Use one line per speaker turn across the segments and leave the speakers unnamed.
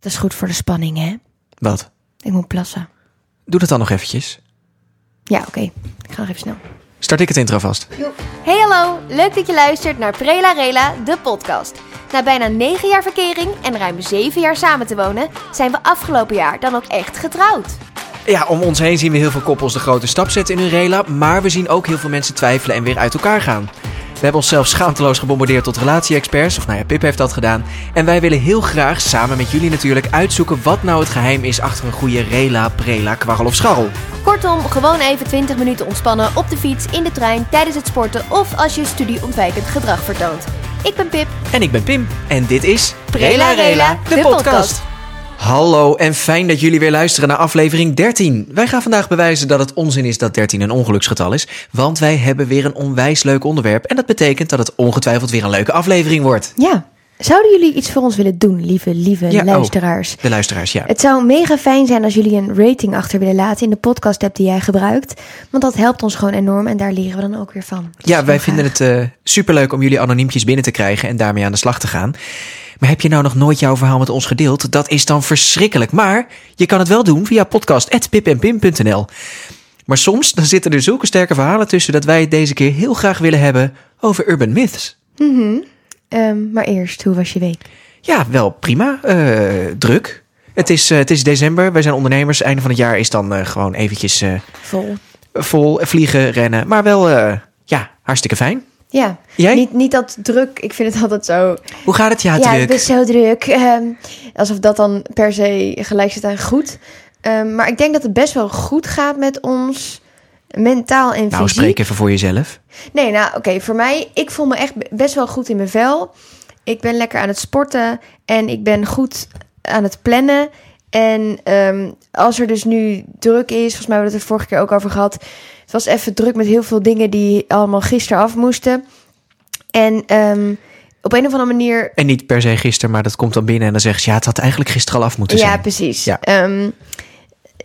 Dat is goed voor de spanning, hè?
Wat?
Ik moet plassen.
Doe dat dan nog eventjes.
Ja, oké. Ik ga nog even snel.
Start ik het intro vast.
Hey hallo, leuk dat je luistert naar Prela Rela, de podcast. Na bijna 9 jaar verkering en ruim 7 jaar samen te wonen, zijn we afgelopen jaar dan ook echt getrouwd.
Ja, om ons heen zien we heel veel koppels de grote stap zetten in hun rela, maar we zien ook heel veel mensen twijfelen en weer uit elkaar gaan. We hebben onszelf schaamteloos gebombardeerd tot relatie-experts, of nou ja, Pip heeft dat gedaan. En wij willen heel graag, samen met jullie natuurlijk, uitzoeken wat nou het geheim is achter een goede rela, prela, kwarrel of scharrel.
Kortom, gewoon even 20 minuten ontspannen op de fiets, in de trein, tijdens het sporten of als je studieontwijkend gedrag vertoont. Ik ben Pip.
En ik ben Pim. En dit is
Prela Rela, de podcast.
Hallo en fijn dat jullie weer luisteren naar aflevering 13. Wij gaan vandaag bewijzen dat het onzin is dat 13 een ongeluksgetal is. Want wij hebben weer een onwijs leuk onderwerp. En dat betekent dat het ongetwijfeld weer een leuke aflevering wordt.
Ja, zouden jullie iets voor ons willen doen, lieve, lieve
Ja, oh.
luisteraars?
De luisteraars, ja.
Het zou mega fijn zijn als jullie een rating achter willen laten in de podcast app die jij gebruikt. Want dat helpt ons gewoon enorm en daar leren we dan ook weer van. Dus
Ja, wij
heel
vinden
graag.
het eh, superleuk om jullie anoniempjes binnen te krijgen en daarmee aan de slag te gaan. Maar heb je nou nog nooit jouw verhaal met ons gedeeld? Dat is dan verschrikkelijk. Maar je kan het wel doen via podcast.pipenpim.nl. Maar soms dan zitten er zulke sterke verhalen tussen dat wij het deze keer heel graag willen hebben over urban myths.
Ehm, maar eerst, hoe was je week?
Ja, wel prima. Eh, druk. Het is, eh, het is december, wij zijn ondernemers. Einde van het jaar is dan eh, gewoon eventjes eh,
Vol.
vol vliegen, rennen. Maar wel, eh, ja, hartstikke fijn.
Ja,
Jij?
Niet, niet dat druk. Ik vind het altijd zo.
Hoe gaat het? Ja,
ja,
Ah,
dus
druk.
ik ben zo druk. Ehm, alsof dat dan per se gelijk zit aan goed. Ehm, maar ik denk dat het best wel goed gaat met ons mentaal en
Nou,
fysiek.
spreek even voor jezelf.
Nee, nou oké, voor mij, ik voel me echt be- best wel goed in mijn vel. Ik ben lekker aan het sporten en ik ben goed aan het plannen. En ehm, als er dus nu druk is, volgens mij hebben we het er vorige keer ook over gehad. Het was even druk met heel veel dingen die allemaal gisteren af moesten. En ehm, op een of andere manier
En niet per se gisteren, maar dat komt dan binnen en dan zegt ze... ja, het had eigenlijk gisteren al af moeten
Ja,
zijn.
precies.
Ja.
Ehm,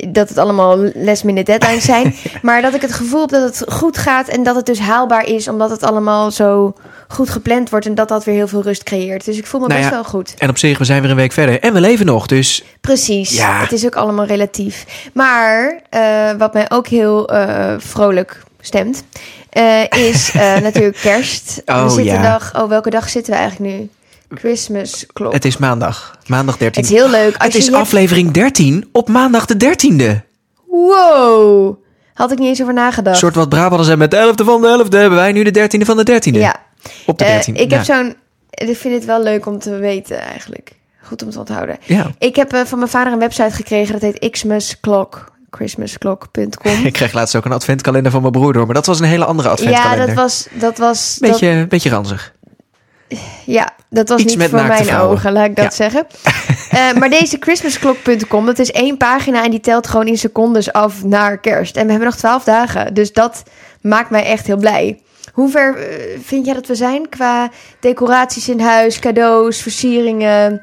dat het allemaal last minute deadlines zijn. Maar dat ik het gevoel heb dat het goed gaat en dat het dus haalbaar is, omdat het allemaal zo goed gepland wordt en dat dat weer heel veel rust creëert. Dus ik voel me
Nou
best
ja.
wel goed.
En op zich, we zijn weer een week verder en we leven nog. Dus
Precies.
Ja.
Het is ook allemaal relatief. Maar eh, wat mij ook heel eh, vrolijk stemt, eh, is eh, natuurlijk kerst.
Oh,
we zitten
ja.
dag. Oh, welke dag zitten we eigenlijk nu? Christmas klok.
het is maandag. Maandag 13.
Het is heel leuk. Als
Het
je
is
je hebt-
aflevering 13 op maandag de 13e.
Wow. Had ik niet eens over nagedacht.
Een soort wat Brabanders zijn met de 11e van de 11e... hebben wij nu de 13e van de 13e.
Ja,
Op de
Eh,
13e.
ik heb
ja.
zo'n. Ik vind het wel leuk om te weten eigenlijk. Goed om te onthouden.
Ja.
Ik heb eh, van mijn vader een website gekregen. Dat heet xmasclock. Christmasclock.com.
Ik kreeg laatst ook een adventkalender van mijn broer door... maar dat was een hele andere
Ja,
adventkalender.
dat was. Dat was dat-
Beetje, beetje ranzig.
ja, dat was
iets
niet
met
voor
naakte
mijn
vrouwen.
ogen, laat ik dat
Ja.
zeggen. Eh, maar deze christmasclock.com, dat is één pagina en die telt gewoon in secondes af naar kerst. En we hebben nog twaalf dagen. Dus dat maakt mij echt heel blij. Hoe ver eh, vind jij dat we zijn qua decoraties in huis, cadeaus, versieringen,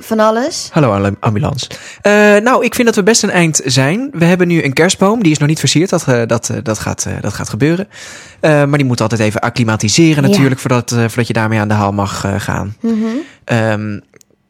van alles?
Hallo am- ambulance. Eh, nou, ik vind dat we best een eind zijn. We hebben nu een kerstboom. Die is nog niet versierd. Dat, eh, dat, eh, dat, gaat, eh, dat gaat gebeuren. Eh, maar die moet altijd even acclimatiseren
Ja. Mhm.
natuurlijk. Voordat, eh, voordat je daarmee aan de haal mag eh, gaan. Ehm,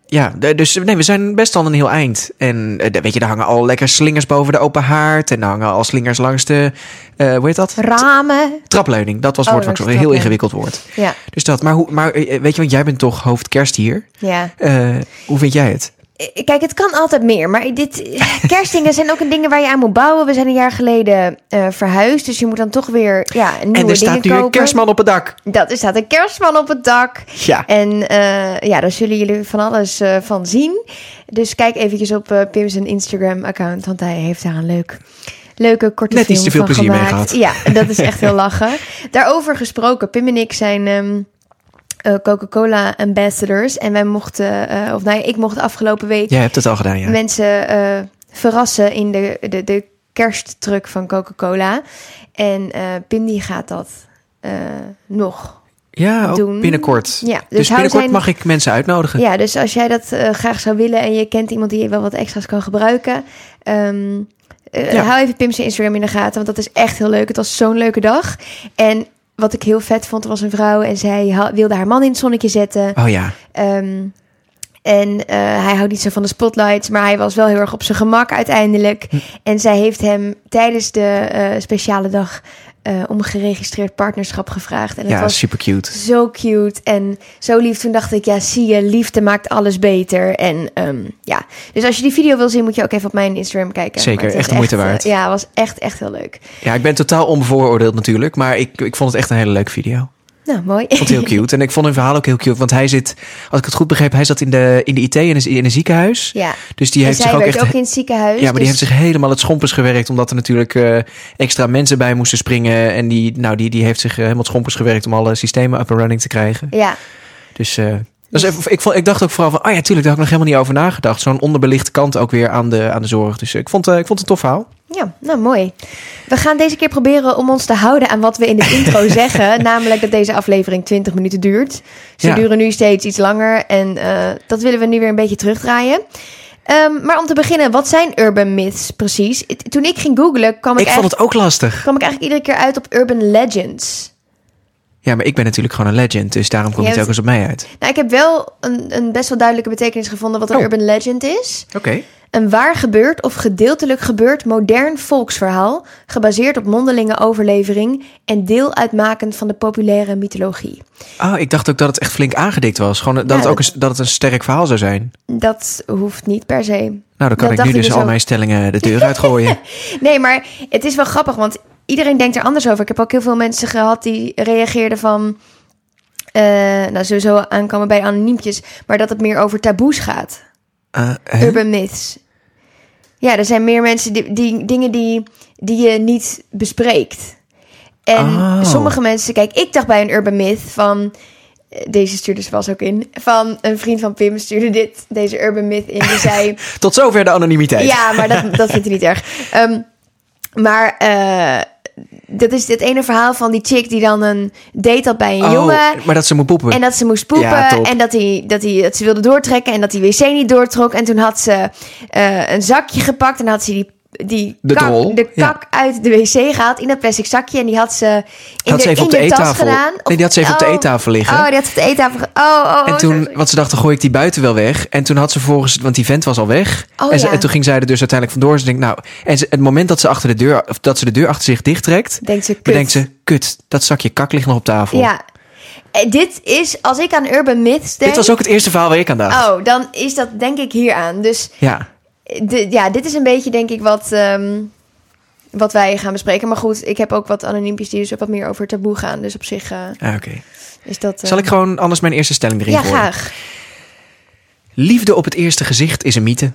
ja, d- dus nee, we zijn best al een heel eind. En eh, d- weet je, daar hangen al lekker slingers boven de open haard. En er hangen al slingers langs de... eh, hoe heet dat?
Ramen.
Trapleuning. Dat was het
Oh,
woord wat ik
langs
zo'n
de
heel
trapleuning.
ingewikkeld woord.
Ja,
Dus dat. Maar, hoe, maar eh, weet je, want jij bent toch hoofdkerst hier.
ja.
Eh, hoe vind jij het?
Eh, Kijk, het kan altijd meer. Maar dit, eh, kerstdingen zijn ook een dingen waar je aan moet bouwen. We zijn een jaar geleden eh, verhuisd. Dus je moet dan toch weer ja, nieuwe dingen
En er staat nu een
kopen.
kerstman op het dak.
Dat er staat een kerstman op het dak.
Ja.
En eh, ja, daar zullen jullie van alles eh, van zien. Dus kijk eventjes op eh Pim's Instagram-account, want hij heeft daar een leuk, leuke korte
Net
film
iets te veel
van
plezier mee
gemaakt. Ja, dat is echt heel lachen. Daarover gesproken, Pim en ik zijn ehm, eh, Coca-Cola ambassadors. En wij mochten, eh, of nou ja, ik mocht afgelopen week
Jij hebt het al gedaan, ja.
mensen eh, verrassen in de, de, de kersttruck van Coca-Cola. En eh, Pim die gaat dat eh, nog
ja, ook
doen.
binnenkort.
Ja, dus
dus
hou
binnenkort
zijn-
mag ik mensen uitnodigen.
Ja, dus als jij dat eh, graag zou willen en je kent iemand die wel wat extra's kan gebruiken, ehm, eh,
Ja.
hou even Pim's Instagram in de gaten, want dat is echt heel leuk. Het was zo'n leuke dag. En wat ik heel vet vond, er was een vrouw en zij ha- wilde haar man in het zonnetje zetten.
Oh ja.
Ehm, En eh, hij houdt niet zo van de spotlights, maar hij was wel heel erg op zijn gemak uiteindelijk.
Hm.
En zij heeft hem tijdens de eh, speciale dag eh, om een geregistreerd partnerschap gevraagd. En het
Ja,
was
super cute.
zo cute en zo lief. Toen dacht ik, ja, zie je, liefde maakt alles beter. En ehm, ja, dus als je die video wil zien, moet je ook even op mijn Instagram kijken.
Zeker,
Maar het
echt de
was
moeite waard.
eh, ja, was echt, echt heel leuk.
Ja, ik ben totaal onbevooroordeeld natuurlijk, maar ik, ik vond het echt een hele leuke video.
Nou, mooi.
Ik vond het heel cute. En ik vond hun verhaal ook heel cute, want hij zit, als ik het goed begreep, hij zat in de, in de IT in een, in een ziekenhuis.
Ja,
Dus die
en
heeft
zij
zich ook
werkt
echt...
ook in het ziekenhuis.
Ja, maar die
dus-
heeft zich helemaal het schompers gewerkt. Omdat er natuurlijk eh, extra mensen bij moesten springen. En die, nou, die, die heeft zich eh, helemaal het schompers gewerkt om alle systemen up and running te krijgen.
Ja,
Dus eh, dat is even, ik, vond, ik dacht ook vooral van, ah ja, tuurlijk, daar had ik nog helemaal niet over nagedacht. Zo'n onderbelichte kant ook weer aan de, aan de zorg. Dus eh, ik, vond, eh, ik vond het een tof verhaal.
ja, nou mooi. We gaan deze keer proberen om ons te houden aan wat we in de intro zeggen. Namelijk dat deze aflevering 20 minuten duurt. Ze
Ja.
duren nu steeds iets langer en eh, dat willen we nu weer een beetje terugdraaien. Ehm, maar om te beginnen, wat zijn urban myths precies? Het- Toen ik ging googlen, kwam ik,
ik vond
eigenlijk,
het ook lastig.
kwam ik eigenlijk iedere keer uit op urban legends.
Ja, maar ik ben natuurlijk gewoon een legend. Dus daarom komt
Jij
het ook
hebt-
eens op mij uit.
Nou, ik heb wel een, een best wel duidelijke betekenis gevonden wat een
Oh.
urban legend is.
Oké.
Een waar gebeurd of gedeeltelijk gebeurd modern volksverhaal, gebaseerd op mondelinge overlevering en deel uitmakend van de populaire mythologie.
Oh, ik dacht ook dat het echt flink aangedikt was. Gewoon dat,
Ja,
het ook
dat-
Een, dat het een sterk verhaal zou zijn.
Dat hoeft niet per se.
Nou, dan
Dat
kan ik
dacht
nu
ik
dus
dus
al
ook.
mijn stellingen de deur uitgooien.
Nee, maar het is wel grappig, want iedereen denkt er anders over. Ik heb ook heel veel mensen gehad die reageerden van. eh, nou, sowieso aankomen bij de anoniempjes, maar dat het meer over taboes gaat.
Eh, hè?
Urban myths. Ja, er zijn meer mensen die, die dingen die, die je niet bespreekt. En
Oh.
sommige mensen, kijk, ik dacht bij een urban myth van. eh, Deze stuurde ze was ook in. Van een vriend van Pim stuurde dit, deze urban myth in. Die zei.
Tot zover de anonimiteit.
ja, maar dat, dat vindt hij niet erg. Ehm, maar eh, dat is dit ene verhaal van die chick die dan een date had bij een
Oh,
jongen.
maar dat ze moet poepen.
En dat ze moest poepen.
Ja, top.
en dat, hij, dat, hij, dat ze wilde doortrekken. En dat die wc niet doortrok. En toen had ze eh, een zakje gepakt. En had ze die, die
De
kak,
drol,
de
ja.
kak uit de wc gehaald. In dat plastic zakje. En die had ze in
had
de,
ze
in
even op de
de tas
eettafel.
gedaan.
Nee, die had ze even op de
Oh.
eettafel liggen.
Oh, die had ze op de eettafel. ge- Oh, oh, oh.
en
sorry,
toen,
sorry.
wat ze dachten, gooi ik die buiten wel weg. En toen had ze volgens, want die vent was al weg.
Oh,
en, ze-
ja.
en toen ging zij er dus uiteindelijk vandoor. Ze denkt, nou, en ze- het moment dat ze, achter de deur, of dat ze de deur achter zich dichttrekt,
Denkt ze, kut.
bedenkt ze, kut, dat zakje kak ligt nog op tafel.
Ja. Eh, Dit is, als ik aan urban myths denk...
Dit was ook het eerste verhaal waar ik aan dacht.
Oh, dan is dat denk ik hieraan. Dus
Ja.
de- ja, dit is een beetje denk ik wat, ehm, wat wij gaan bespreken. Maar goed, ik heb ook wat anoniempjes die dus ook wat meer over taboe gaan. Dus op zich eh,
Ah, Oké.
is dat... eh,
Zal ik gewoon anders mijn eerste stelling erin
Ja,
gooien?
graag.
Liefde op het eerste gezicht is een mythe.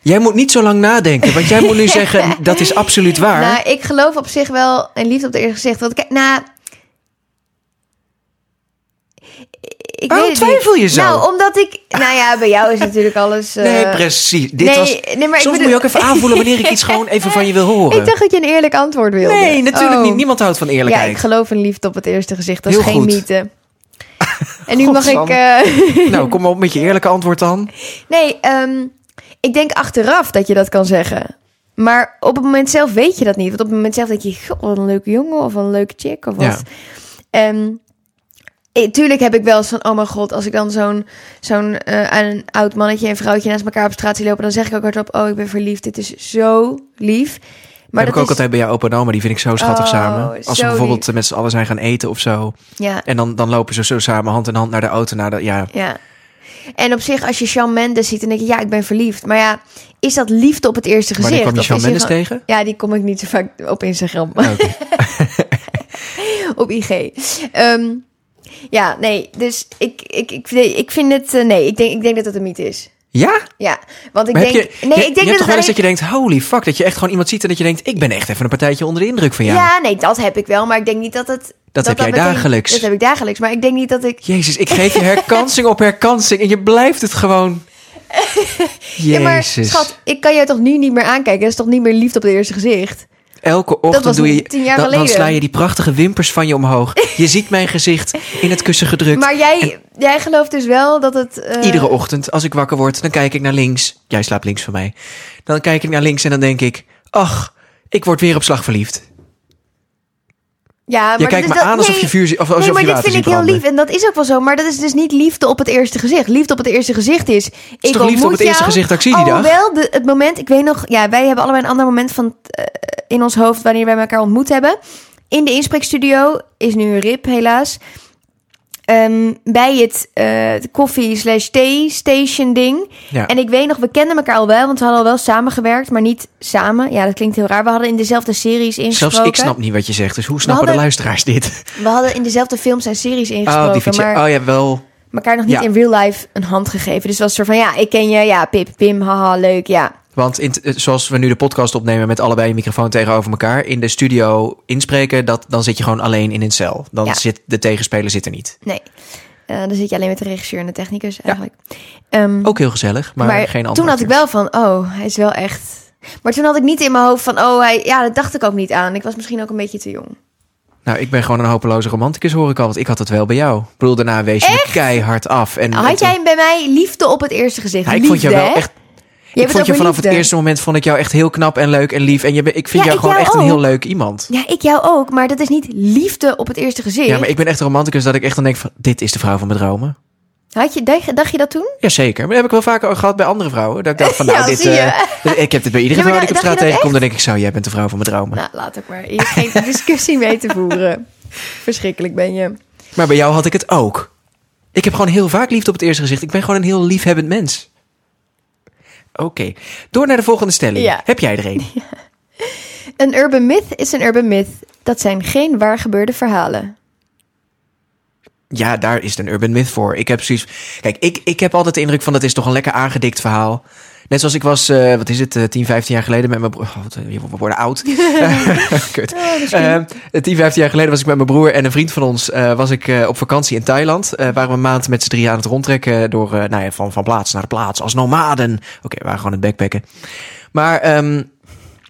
Jij moet niet zo lang nadenken, want jij moet nu zeggen, dat is absoluut waar.
Nou, ik geloof op zich wel in liefde op het eerste gezicht. Want kijk, nou... Ik
Waarom
weet het
Oh, twijfel je
niet.
zo?
Nou, omdat ik... Nou ja, bij jou is natuurlijk alles... eh,
Nee, precies. Dit
nee,
was,
nee, maar ik
soms
bedoel-
moet je ook even aanvoelen wanneer ik iets gewoon even van je wil horen.
Ik dacht dat je een eerlijk antwoord wilde.
nee, natuurlijk
Oh.
niet. Niemand houdt van
Ja,
eerlijkheid.
ik geloof in liefde op het eerste gezicht. Dat
Heel
is geen
goed.
mythe. En nu mag ik...
Godsamme.
eh,
Nou, kom maar op met je eerlijke antwoord dan.
Nee, ehm, ik denk achteraf dat je dat kan zeggen. Maar op het moment zelf weet je dat niet. Want op het moment zelf denk je, goh, wat een leuke jongen of wat een leuke chick of wat.
Ja.
En eh, tuurlijk heb ik wel eens van, oh mijn god, als ik dan zo'n zo'n eh, een oud mannetje en vrouwtje naast elkaar op straat zie lopen, dan zeg ik ook hardop, oh ik ben verliefd, dit is zo lief.
Maar heb ik ook
is-
altijd bij jou opa en oma. Die vind ik zo schattig
Oh,
samen. Als
zo
we bijvoorbeeld
lief.
eh, met z'n allen zijn gaan eten of zo.
Ja,
En dan, dan lopen ze zo samen hand in hand naar de auto. Naar de, ja.
ja. En op zich, als je Shawn Mendes ziet, dan denk je, ja, ik ben verliefd. Maar ja, is dat liefde op het eerste gezicht?
Wanneer kwam je
Of
Shawn
is hij
Mendes
gewoon-
tegen? Oh,
Ja, die kom ik niet zo vaak op Instagram.
Oké.
op IG. Ehm, ja, nee, dus ik, ik, ik, ik vind het... eh, nee, ik denk, ik denk dat het een mythe is.
Ja? Maar
Ja, want ik
heb
denk...
je,
nee,
je,
ik
je
denk
hebt
dat het
toch wel eens
alleen-
dat je denkt... Holy fuck, dat je echt gewoon iemand ziet en dat je denkt... Ik ben echt even een partijtje onder de indruk van
ja.
jou.
nee, dat heb ik wel, maar ik denk niet dat het...
Dat heb jij
meteen-
dagelijks.
Dat heb ik dagelijks, maar ik denk niet dat ik...
Jezus, ik geef je herkansing op herkansing. En je blijft het gewoon... Jezus.
Ja, maar schat, ik kan jou toch nu niet meer aankijken? Dat is toch niet meer liefde op het eerste gezicht?
Elke ochtend
was
doe je,
tien jaar
dan, dan
geleden.
sla je die prachtige wimpers van je omhoog. Je ziet mijn gezicht in het kussen gedrukt.
Maar jij, jij gelooft dus wel dat het... eh,
Iedere ochtend, als ik wakker word, dan kijk ik naar links. Jij slaapt links van mij. Dan kijk ik naar links en dan denk ik... Ach, ik word weer op slag verliefd.
Ja, maar
je kijkt me
dit-
aan alsof
nee,
je vuur zie- of alsof
Nee, maar
je
dit
water
vind ik
ziet
heel
branden.
lief. En dat is ook wel zo. Maar dat is dus niet liefde op het eerste gezicht. Liefde op het eerste gezicht is... ik
toch liefde op het
ontmoet
eerste
jou.
gezicht dat ik zie die dag?
Alhoewel, de, het moment... Ik weet nog... Ja, wij hebben allebei een ander moment van, eh, in ons hoofd... wanneer wij elkaar ontmoet hebben. In de inspreekstudio is nu een rip, helaas. Ehm, bij het eh, koffie slash thee station ding.
Ja.
En ik weet nog, we kenden elkaar al wel, want we hadden al wel samengewerkt, maar niet samen. Ja, dat klinkt heel raar. We hadden in dezelfde series ingesproken. Nou,
Zelfs ik snap niet wat je zegt. Dus hoe snappen de
hadden-
luisteraars dit?
We hadden in dezelfde films en series
Oh, die
ingesproken,
fiets.
maar
Oh ja, wel.
elkaar nog niet
Ja.
in real life een hand gegeven. Dus het was soort van, ja, ik ken je, ja, Pip, Pim, haha, leuk, ja.
Want in, t- eh, zoals we nu de podcast opnemen met allebei een microfoon tegenover elkaar. In de studio inspreken, dat, dan zit je gewoon alleen in een cel. Dan
Ja.
zit de tegenspeler zit er niet.
Nee, Eh, dan zit je alleen met de regisseur en de technicus eigenlijk. Ehm,
Ook heel gezellig, Oh, maar,
maar
geen andere
toen had ik
acteurs.
wel van, oh, hij is wel echt... Maar toen had ik niet in mijn hoofd van, oh, hij, ja, dat dacht ik ook niet aan. Ik was misschien ook een beetje te jong.
Nou, ik ben gewoon een hopeloze romanticus, hoor ik al. Want ik had het wel bij jou. Ik bedoel, daarna wees je me keihard af. En, en
Nou, Had
toen-
jij bij mij liefde op het eerste gezicht?
Ja, ik
liefde,
vond jou wel
hè?
echt...
Jij
ik
hebt
vond je
over
vanaf
liefde.
het eerste moment vond ik jou echt heel knap en leuk en lief. En je, ben- ik vind
Ja,
jou
ik
gewoon
jou
echt een
ook.
heel leuk iemand.
Ja, ik jou ook, maar dat is niet liefde op het eerste gezicht.
Ja, maar ik ben echt een romanticus dat ik echt dan denk van... Dit is de vrouw van mijn dromen.
Had je, dacht, dacht je dat toen?
Jazeker. Maar dat heb ik wel vaker ook gehad bij andere vrouwen. Dat ik dacht van,
Ja,
nou, dit,
zie je.
eh, ik heb dit bij iedere
Ja, maar
vrouw die ik op
dacht je
straat
dat
tegenkom. Dan denk ik zo, jij bent de vrouw van mijn dromen.
Nou, laat ook maar. Hier is geen discussie mee te voeren. Verschrikkelijk ben je.
Maar bij jou had ik het ook. Ik heb gewoon heel vaak liefde op het eerste gezicht. Ik ben gewoon een heel liefhebbend mens. Oké, door naar de volgende stelling.
Ja.
Heb jij er een?
Een urban myth is een urban myth. Dat zijn geen waar gebeurde verhalen.
Ja, daar is het een urban myth voor. Ik heb precies. Kijk, ik, ik heb altijd de indruk van dat is toch een lekker aangedikt verhaal. Net zoals ik was, eh, wat is het, eh, 10, 15 jaar geleden met mijn broer. Oh, wat, eh, we worden oud. Kut.
Oh,
Eh, 10, 15 jaar geleden was ik met mijn broer en een vriend van ons eh, was ik, eh, op vakantie in Thailand. Eh, waren we een maand met z'n drieën aan het rondtrekken door, eh, nou ja, van, van plaats naar plaats als nomaden. Oké, we waren gewoon aan het backpacken. Maar ehm,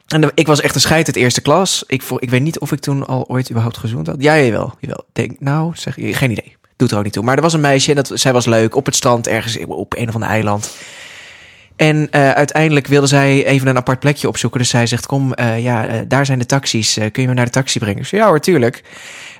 en de- ik was echt een scheid uit eerste klas. Ik, vo- ik weet niet of ik toen al ooit überhaupt gezoend had. Ja, jawel. jawel. Denk, nou, zeg, geen idee. Doet er ook niet toe. Maar er was een meisje en dat, zij was leuk op het strand ergens op een of ander eiland. En eh, uiteindelijk wilde zij even een apart plekje opzoeken. Dus zij zegt, kom, eh, ja, eh, daar zijn de taxis. Eh, kun je me naar de taxi brengen? Ik zei, ja hoor, tuurlijk. En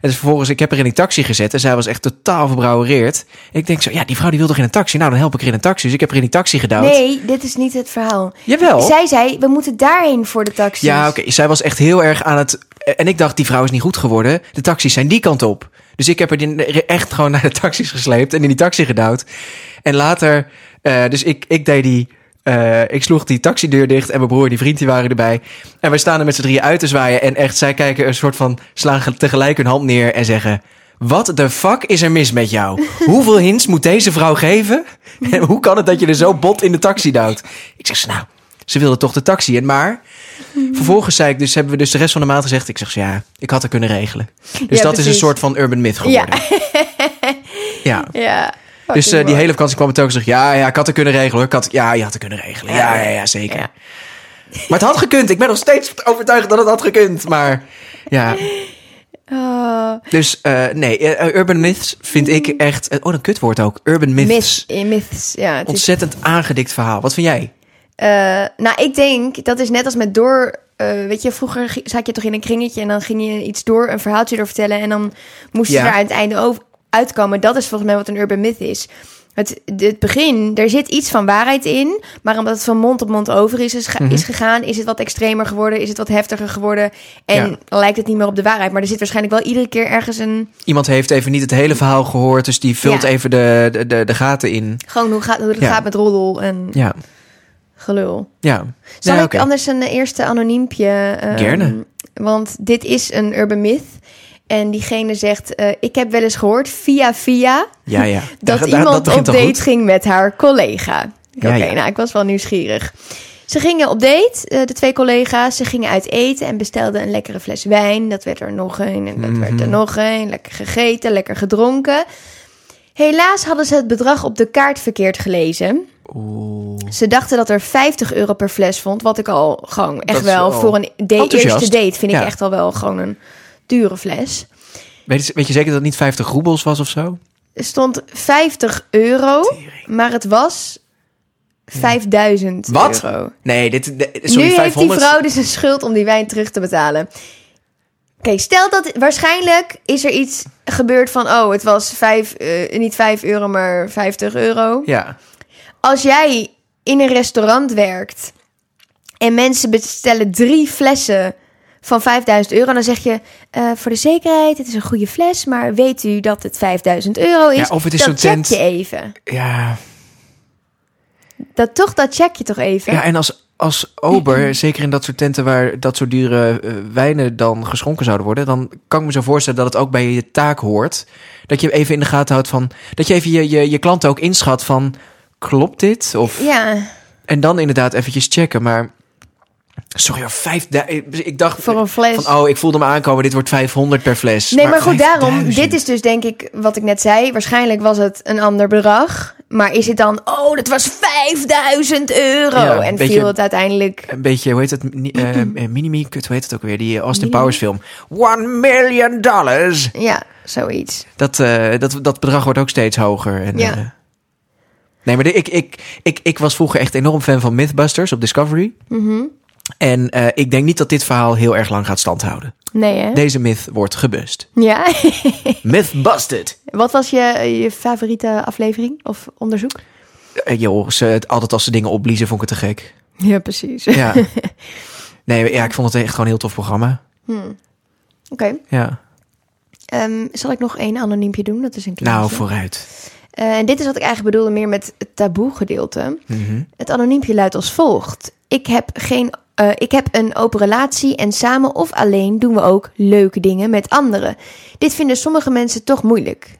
dus vervolgens, ik heb haar in die taxi gezet. En zij was echt totaal verbrouwereerd. En ik denk zo, ja, die vrouw die wil toch in een taxi? Nou, dan help ik haar in een taxi. Dus ik heb haar in die taxi gedouwd.
Nee, dit is niet het verhaal.
Jawel.
Zij zei, we moeten daarheen voor de taxi.
Ja, oké. Zij was echt heel erg aan het. eh, En ik dacht, die vrouw is niet goed geworden. De taxis zijn die kant op. Dus ik heb haar die- echt gewoon naar de taxis gesleept en in die taxi gedouwd. En later, eh, dus ik, ik deed die. eh, ik sloeg die taxideur dicht en mijn broer en die vriend die waren erbij. En wij staan er met z'n drieën uit te zwaaien. En echt, zij kijken een soort van. slaan ge- tegelijk hun hand neer en zeggen. Wat de fuck is er mis met jou? Hoeveel hints moet deze vrouw geven? En hoe kan het dat je er zo bot in de taxi duwt? Ik zeg ze, nou, ze wilde toch de taxi in, maar Vervolgens zei ik dus, hebben we dus de rest van de maand gezegd. Ik zeg ze, ja, ik had het kunnen regelen. Dus dat is een
precies.
soort van urban myth geworden. Ja.
Ja.
Dus eh,
Fucking
die
mooi.
hele vakantie kwam het ook en zeg, ja, ja, ik had het kunnen regelen. hoor. Ik had, ja, je had het kunnen regelen. Ja, ja, ja, zeker.
Ja.
Maar het had gekund. Ik ben nog steeds overtuigd dat het had gekund. Maar ja,
Oh,
dus eh, nee, eh, urban myths vind ik echt... eh, oh, een kutwoord ook. Urban myths.
myth, eh, myths. Ja, het is
Ontzettend aangedikt verhaal. Wat vind jij?
Eh, nou, ik denk dat is net als met door. eh, weet je, vroeger gi- zat je toch in een kringetje en dan ging je iets door, een verhaaltje door vertellen en dan moest je
Ja.
er aan het einde over uitkomen. Dat is volgens mij wat een urban myth is. Het, het begin, er zit iets van waarheid in, maar omdat het van mond op mond over is, is, ge-
Mhm.
is gegaan, is het wat extremer geworden, is het wat heftiger geworden en lijkt het niet meer op de waarheid. Maar er zit waarschijnlijk wel iedere keer ergens een,
Iemand heeft even niet het hele verhaal gehoord. Dus die vult
Ja.
even de, de, de, de gaten in.
gewoon hoe, gaat, hoe het
Ja.
gaat met roddel en
Ja,
gelul.
ja.
Zal
Nee,
ik
oké.
anders een eh, eerste anoniempje? ehm,
Gerne.
Want dit is een urban myth. En diegene zegt, eh, ik heb wel eens gehoord via via...
Ja, ja.
dat
Daar- daar-
iemand
begint
op
al
date
goed.
ging met haar collega. Oké,
Ja, ja.
nou, ik was wel nieuwsgierig. Ze gingen op date, eh, de twee collega's. Ze gingen uit eten en bestelden een lekkere fles wijn. Dat werd er nog een en dat werd
Mhm.
er nog een. Lekker gegeten, lekker gedronken. Helaas hadden ze het bedrag op de kaart verkeerd gelezen. Ze dachten dat er 50 euro per fles vond. Wat ik al gewoon echt
is
wel
al
voor een de-
enthousiast.
eerste date vind
Ja.
ik echt al wel gewoon een dure fles.
Weet, je- weet je zeker dat het niet 50 roebels was of zo?
Er stond 50 euro, maar het was 5000
Wat?
euro.
Nee, dit, de-
nu
sorry,
heeft die
500.
vrouw dus een schuld om die wijn terug te betalen. stel dat waarschijnlijk is er iets gebeurd van... oh, het was vijf, eh, niet 5 euro, maar 50 euro.
Ja.
Als jij in een restaurant werkt en mensen bestellen drie flessen van 5000 euro... dan zeg je, eh, voor de zekerheid, het is een goede fles... maar weet u dat het 5000 euro is?
Ja, of het is
dat
zo'n
check
tent-
je even.
Ja.
Dat toch, dat check je toch even?
ja, en als, als ober, zeker in dat soort tenten waar dat soort dure eh, wijnen dan geschonken zouden worden, dan kan ik me zo voorstellen dat het ook bij je taak hoort. Dat je even in de gaten houdt van. Dat je even je, je, je klanten ook inschat van. Klopt dit? Of,
Ja,
En dan inderdaad eventjes checken. Maar. Sorry, hoor, vijf. Ik dacht.
voor een fles.
Van, oh, ik voelde hem aankomen. Dit wordt 500 per fles.
Nee, maar, goed, daarom.
5000.
Dit is dus denk ik wat ik net zei. Waarschijnlijk was het een ander bedrag. Maar is het dan, oh, dat was 5000 euro.
Ja,
en
beetje-
viel het uiteindelijk.
Een beetje, hoe heet het? Ni- eh, eh, Minimi, kut, hoe heet het ook weer? Die eh, Austin Powers film. One million dollars!
Ja, zoiets.
Dat, eh, dat, dat bedrag wordt ook steeds hoger. En,
Ja.
eh, nee, maar de- ik, ik, ik, ik was vroeger echt enorm fan van Mythbusters op Discovery.
Mhm.
En eh, ik denk niet dat dit verhaal heel erg lang gaat standhouden.
Nee, hè?
Deze myth wordt gebust.
Ja.
Myth busted!
wat was je, je favoriete aflevering of onderzoek?
Eh, joh, ze, het- altijd als ze dingen opbliezen vond ik het te gek.
Ja, precies. Oké.
Ja. nee, ja, ik vond het echt gewoon een heel tof programma. Ja.
ehm, zal ik nog één anoniempje doen? Dat is een klein.
Nou, vooruit.
Eh, en dit is wat ik eigenlijk bedoelde meer met het taboe gedeelte.
Mhm.
Het anoniempje luidt als volgt. Ik heb, geen, eh, ik heb een open relatie en samen of alleen doen we ook leuke dingen met anderen. Dit vinden sommige mensen toch moeilijk.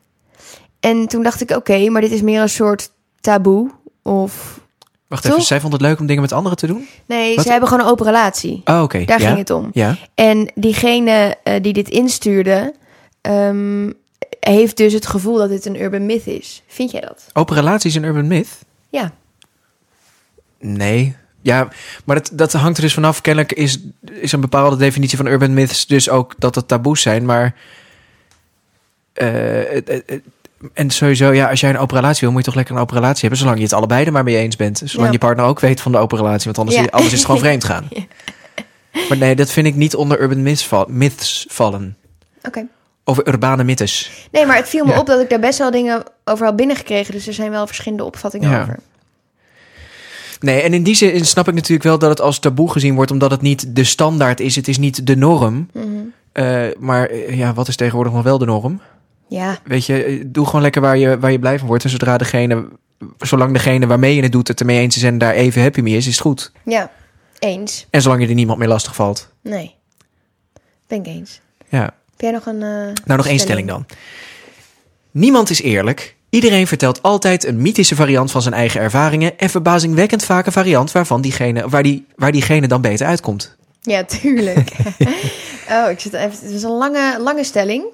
En toen dacht ik, oké, maar dit is meer een soort taboe. Of
Wacht
Toch?
even, zij vond het leuk om dingen met anderen te doen?
nee,
Wat?
ze hebben gewoon een open relatie.
Oh, oké.
Daar
ja?
ging het om.
Ja.
En diegene eh, die dit instuurde, ehm, heeft dus het gevoel dat dit een urban myth is. Vind jij dat?
Open relaties een urban myth?
Ja.
Nee. Ja, maar dat, dat hangt er dus vanaf. Kennelijk is, is een bepaalde definitie van urban myths dus ook dat het taboes zijn. Maar. eh, het- het- het- en sowieso, ja, als jij een open relatie wil, moet je toch lekker een open relatie hebben. Zolang je het allebei er maar mee eens bent. Zolang
Ja.
je partner ook weet van de open relatie. Want anders,
Ja.
is- anders is het gewoon vreemd gaan. Maar nee, dat vind ik niet onder urban myths, val- myths vallen.
Oké.
Of urbane mythes.
Nee, maar het viel me
Ja.
op dat ik daar best wel dingen over had binnengekregen. Dus er zijn wel verschillende opvattingen
Ja.
over.
Nee, en in die zin snap ik natuurlijk wel dat het als taboe gezien wordt, omdat het niet de standaard is. Het is niet de norm.
Mhm.
Eh, maar eh, ja, wat is tegenwoordig nog wel de norm?
Ja,
Weet je, eh, doe gewoon lekker waar je, waar je blij van wordt. En zodra degene, zolang degene waarmee je het doet het ermee eens is en daar even happy mee is, is het goed.
ja, eens.
En zolang je er niemand mee lastig valt.
Nee, ben ik eens.
Ja.
Heb jij nog een... eh,
Nou, nog één stelling dan. Niemand is eerlijk. Iedereen vertelt altijd een mythische variant van zijn eigen ervaringen. En verbazingwekkend vaak een variant waarvan diegene, waar, die, waar diegene dan beter uitkomt.
Ja, tuurlijk. oh, ik zit even... Het is een lange, lange stelling.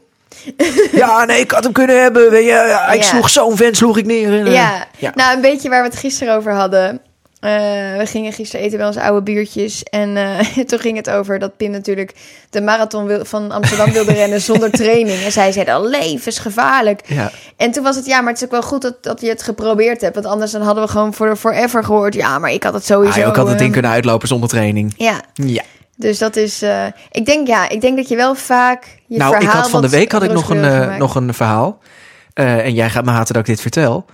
Ja, nee, ik had hem kunnen hebben. weet je. Ja, ik
Ja.
sloeg zo'n vent, sloeg ik neer. En, eh,
Ja.
ja.
nou een beetje waar we het gisteren over hadden. Eh, we gingen gisteren eten bij onze oude buurtjes. En eh, toen ging het over dat Pim natuurlijk de marathon wil, van Amsterdam wilde rennen zonder training. En zij zei al levensgevaarlijk.
Ja.
En toen was het, ja, maar het is ook wel goed dat, dat je het geprobeerd hebt. Want anders dan hadden we gewoon voor forever gehoord. Ja, maar ik had het sowieso...
Ah, joh, ik had het
eh,
ding kunnen uitlopen zonder training.
Ja,
Ja.
dus dat is... eh, ik denk, ja, ik denk dat je wel vaak je
nou, ik
verhaal
had van de
wat
week had ik nog een, eh,
rooskleuriger maakt.
nog een verhaal. Eh, en jij gaat me haten dat ik dit vertel.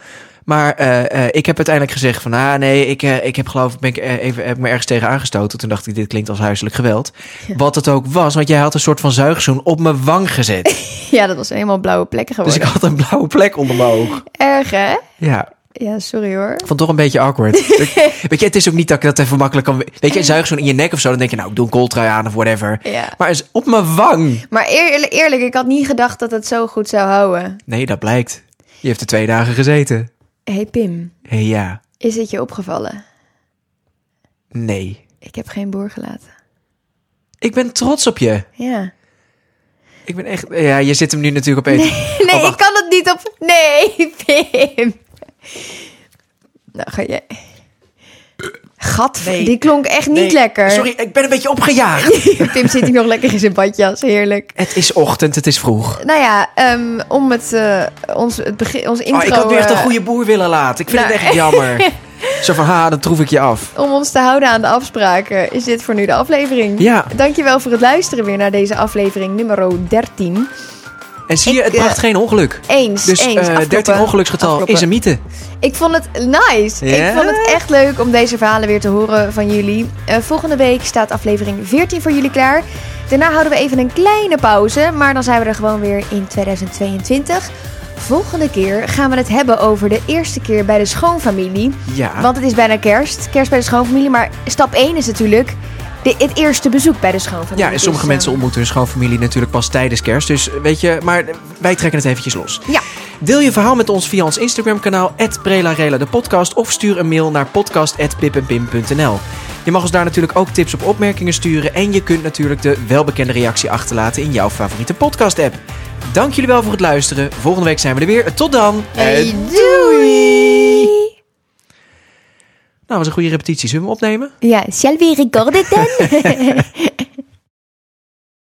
Maar eh, eh, ik heb uiteindelijk gezegd van... ah nee, ik, eh, ik heb geloof ben ik eh, even, heb ik me ergens tegen aangestoten. Toen dacht ik, dit klinkt als huiselijk geweld. Wat het ook was, want jij had een soort van zuigzoen op mijn wang gezet.
Ja, dat was helemaal blauwe plekken
dus
geworden.
ik had een blauwe plek onder mijn oog.
Erg, hè?
Ja,
Ja, sorry hoor.
ik vond het toch een beetje awkward. Ik- Weet je, het is ook niet dat ik dat even makkelijk kan... Weet je, een zuigzoen in je nek of zo, dan denk je... nou, ik doe een kooltrui aan of whatever.
Ja.
Maar eens op mijn wang.
Maar eerlijk, eerlijk, ik had niet gedacht dat het zo goed zou houden.
Nee, dat blijkt. Je heeft er twee dagen gezeten.
hey Pim,
Hé, ja.
is het je opgevallen?
Nee.
Ik heb geen boer gelaten.
Ik ben trots op je.
Ja.
Ik ben echt... Ja, je zit hem nu natuurlijk op eten.
Nee,
Oh, wacht.
ik kan het niet op... Nee, Pim. Nou, ga jij... Gat,
Nee.
die klonk echt niet
Nee,
lekker.
Sorry, ik ben een beetje opgejaagd.
Pim zit hier nog lekker in zijn badjas, heerlijk.
het is ochtend, het is vroeg.
Nou ja, ehm, om het, eh, ons, het begin, ons intro...
oh, ik had nu echt een
eh,
goede boer willen laten. Ik vind
nou,
het echt jammer. Zo van, ha, dan troef ik je af.
Om ons te houden aan de afspraken is dit voor nu de aflevering.
Ja,
Dankjewel voor het luisteren weer naar deze aflevering nummer 13.
en zie je,
Ik,
het bracht
eh,
geen ongeluk.
Eens,
Dus
eens.
eh, 13
afkloppen.
ongeluksgetal
Afkloppen.
is een mythe.
Ik vond het nice.
Ja?
Ik vond het echt leuk om deze verhalen weer te horen van jullie. Eh, volgende week staat aflevering 14 voor jullie klaar. Daarna houden we even een kleine pauze, maar dan zijn we er gewoon weer in 2022. Volgende keer gaan we het hebben over de eerste keer bij de schoonfamilie.
Ja,
Want het is bijna kerst. Kerst bij de schoonfamilie. Maar stap 1 is natuurlijk de, het eerste bezoek bij de schoonfamilie.
ja en sommige
Dus,
mensen
eh,
ontmoeten hun schoonfamilie natuurlijk pas tijdens kerst. Dus eh, weet je, maar eh, wij trekken het eventjes los.
Ja.
Deel je verhaal met ons via ons Instagram-kanaal, Prelarela de podcast. Of stuur een mail naar podcast.pipenpim.nl. Je mag ons daar natuurlijk ook tips op opmerkingen sturen. En je kunt natuurlijk de welbekende reactie achterlaten in jouw favoriete podcast-app. Dank jullie wel voor het luisteren. Volgende week zijn we er weer. Tot dan.
Hey,
Eh,
doei!
Nou, was een goede repetitie. Zullen we hem opnemen?
Ja, shall we record it then?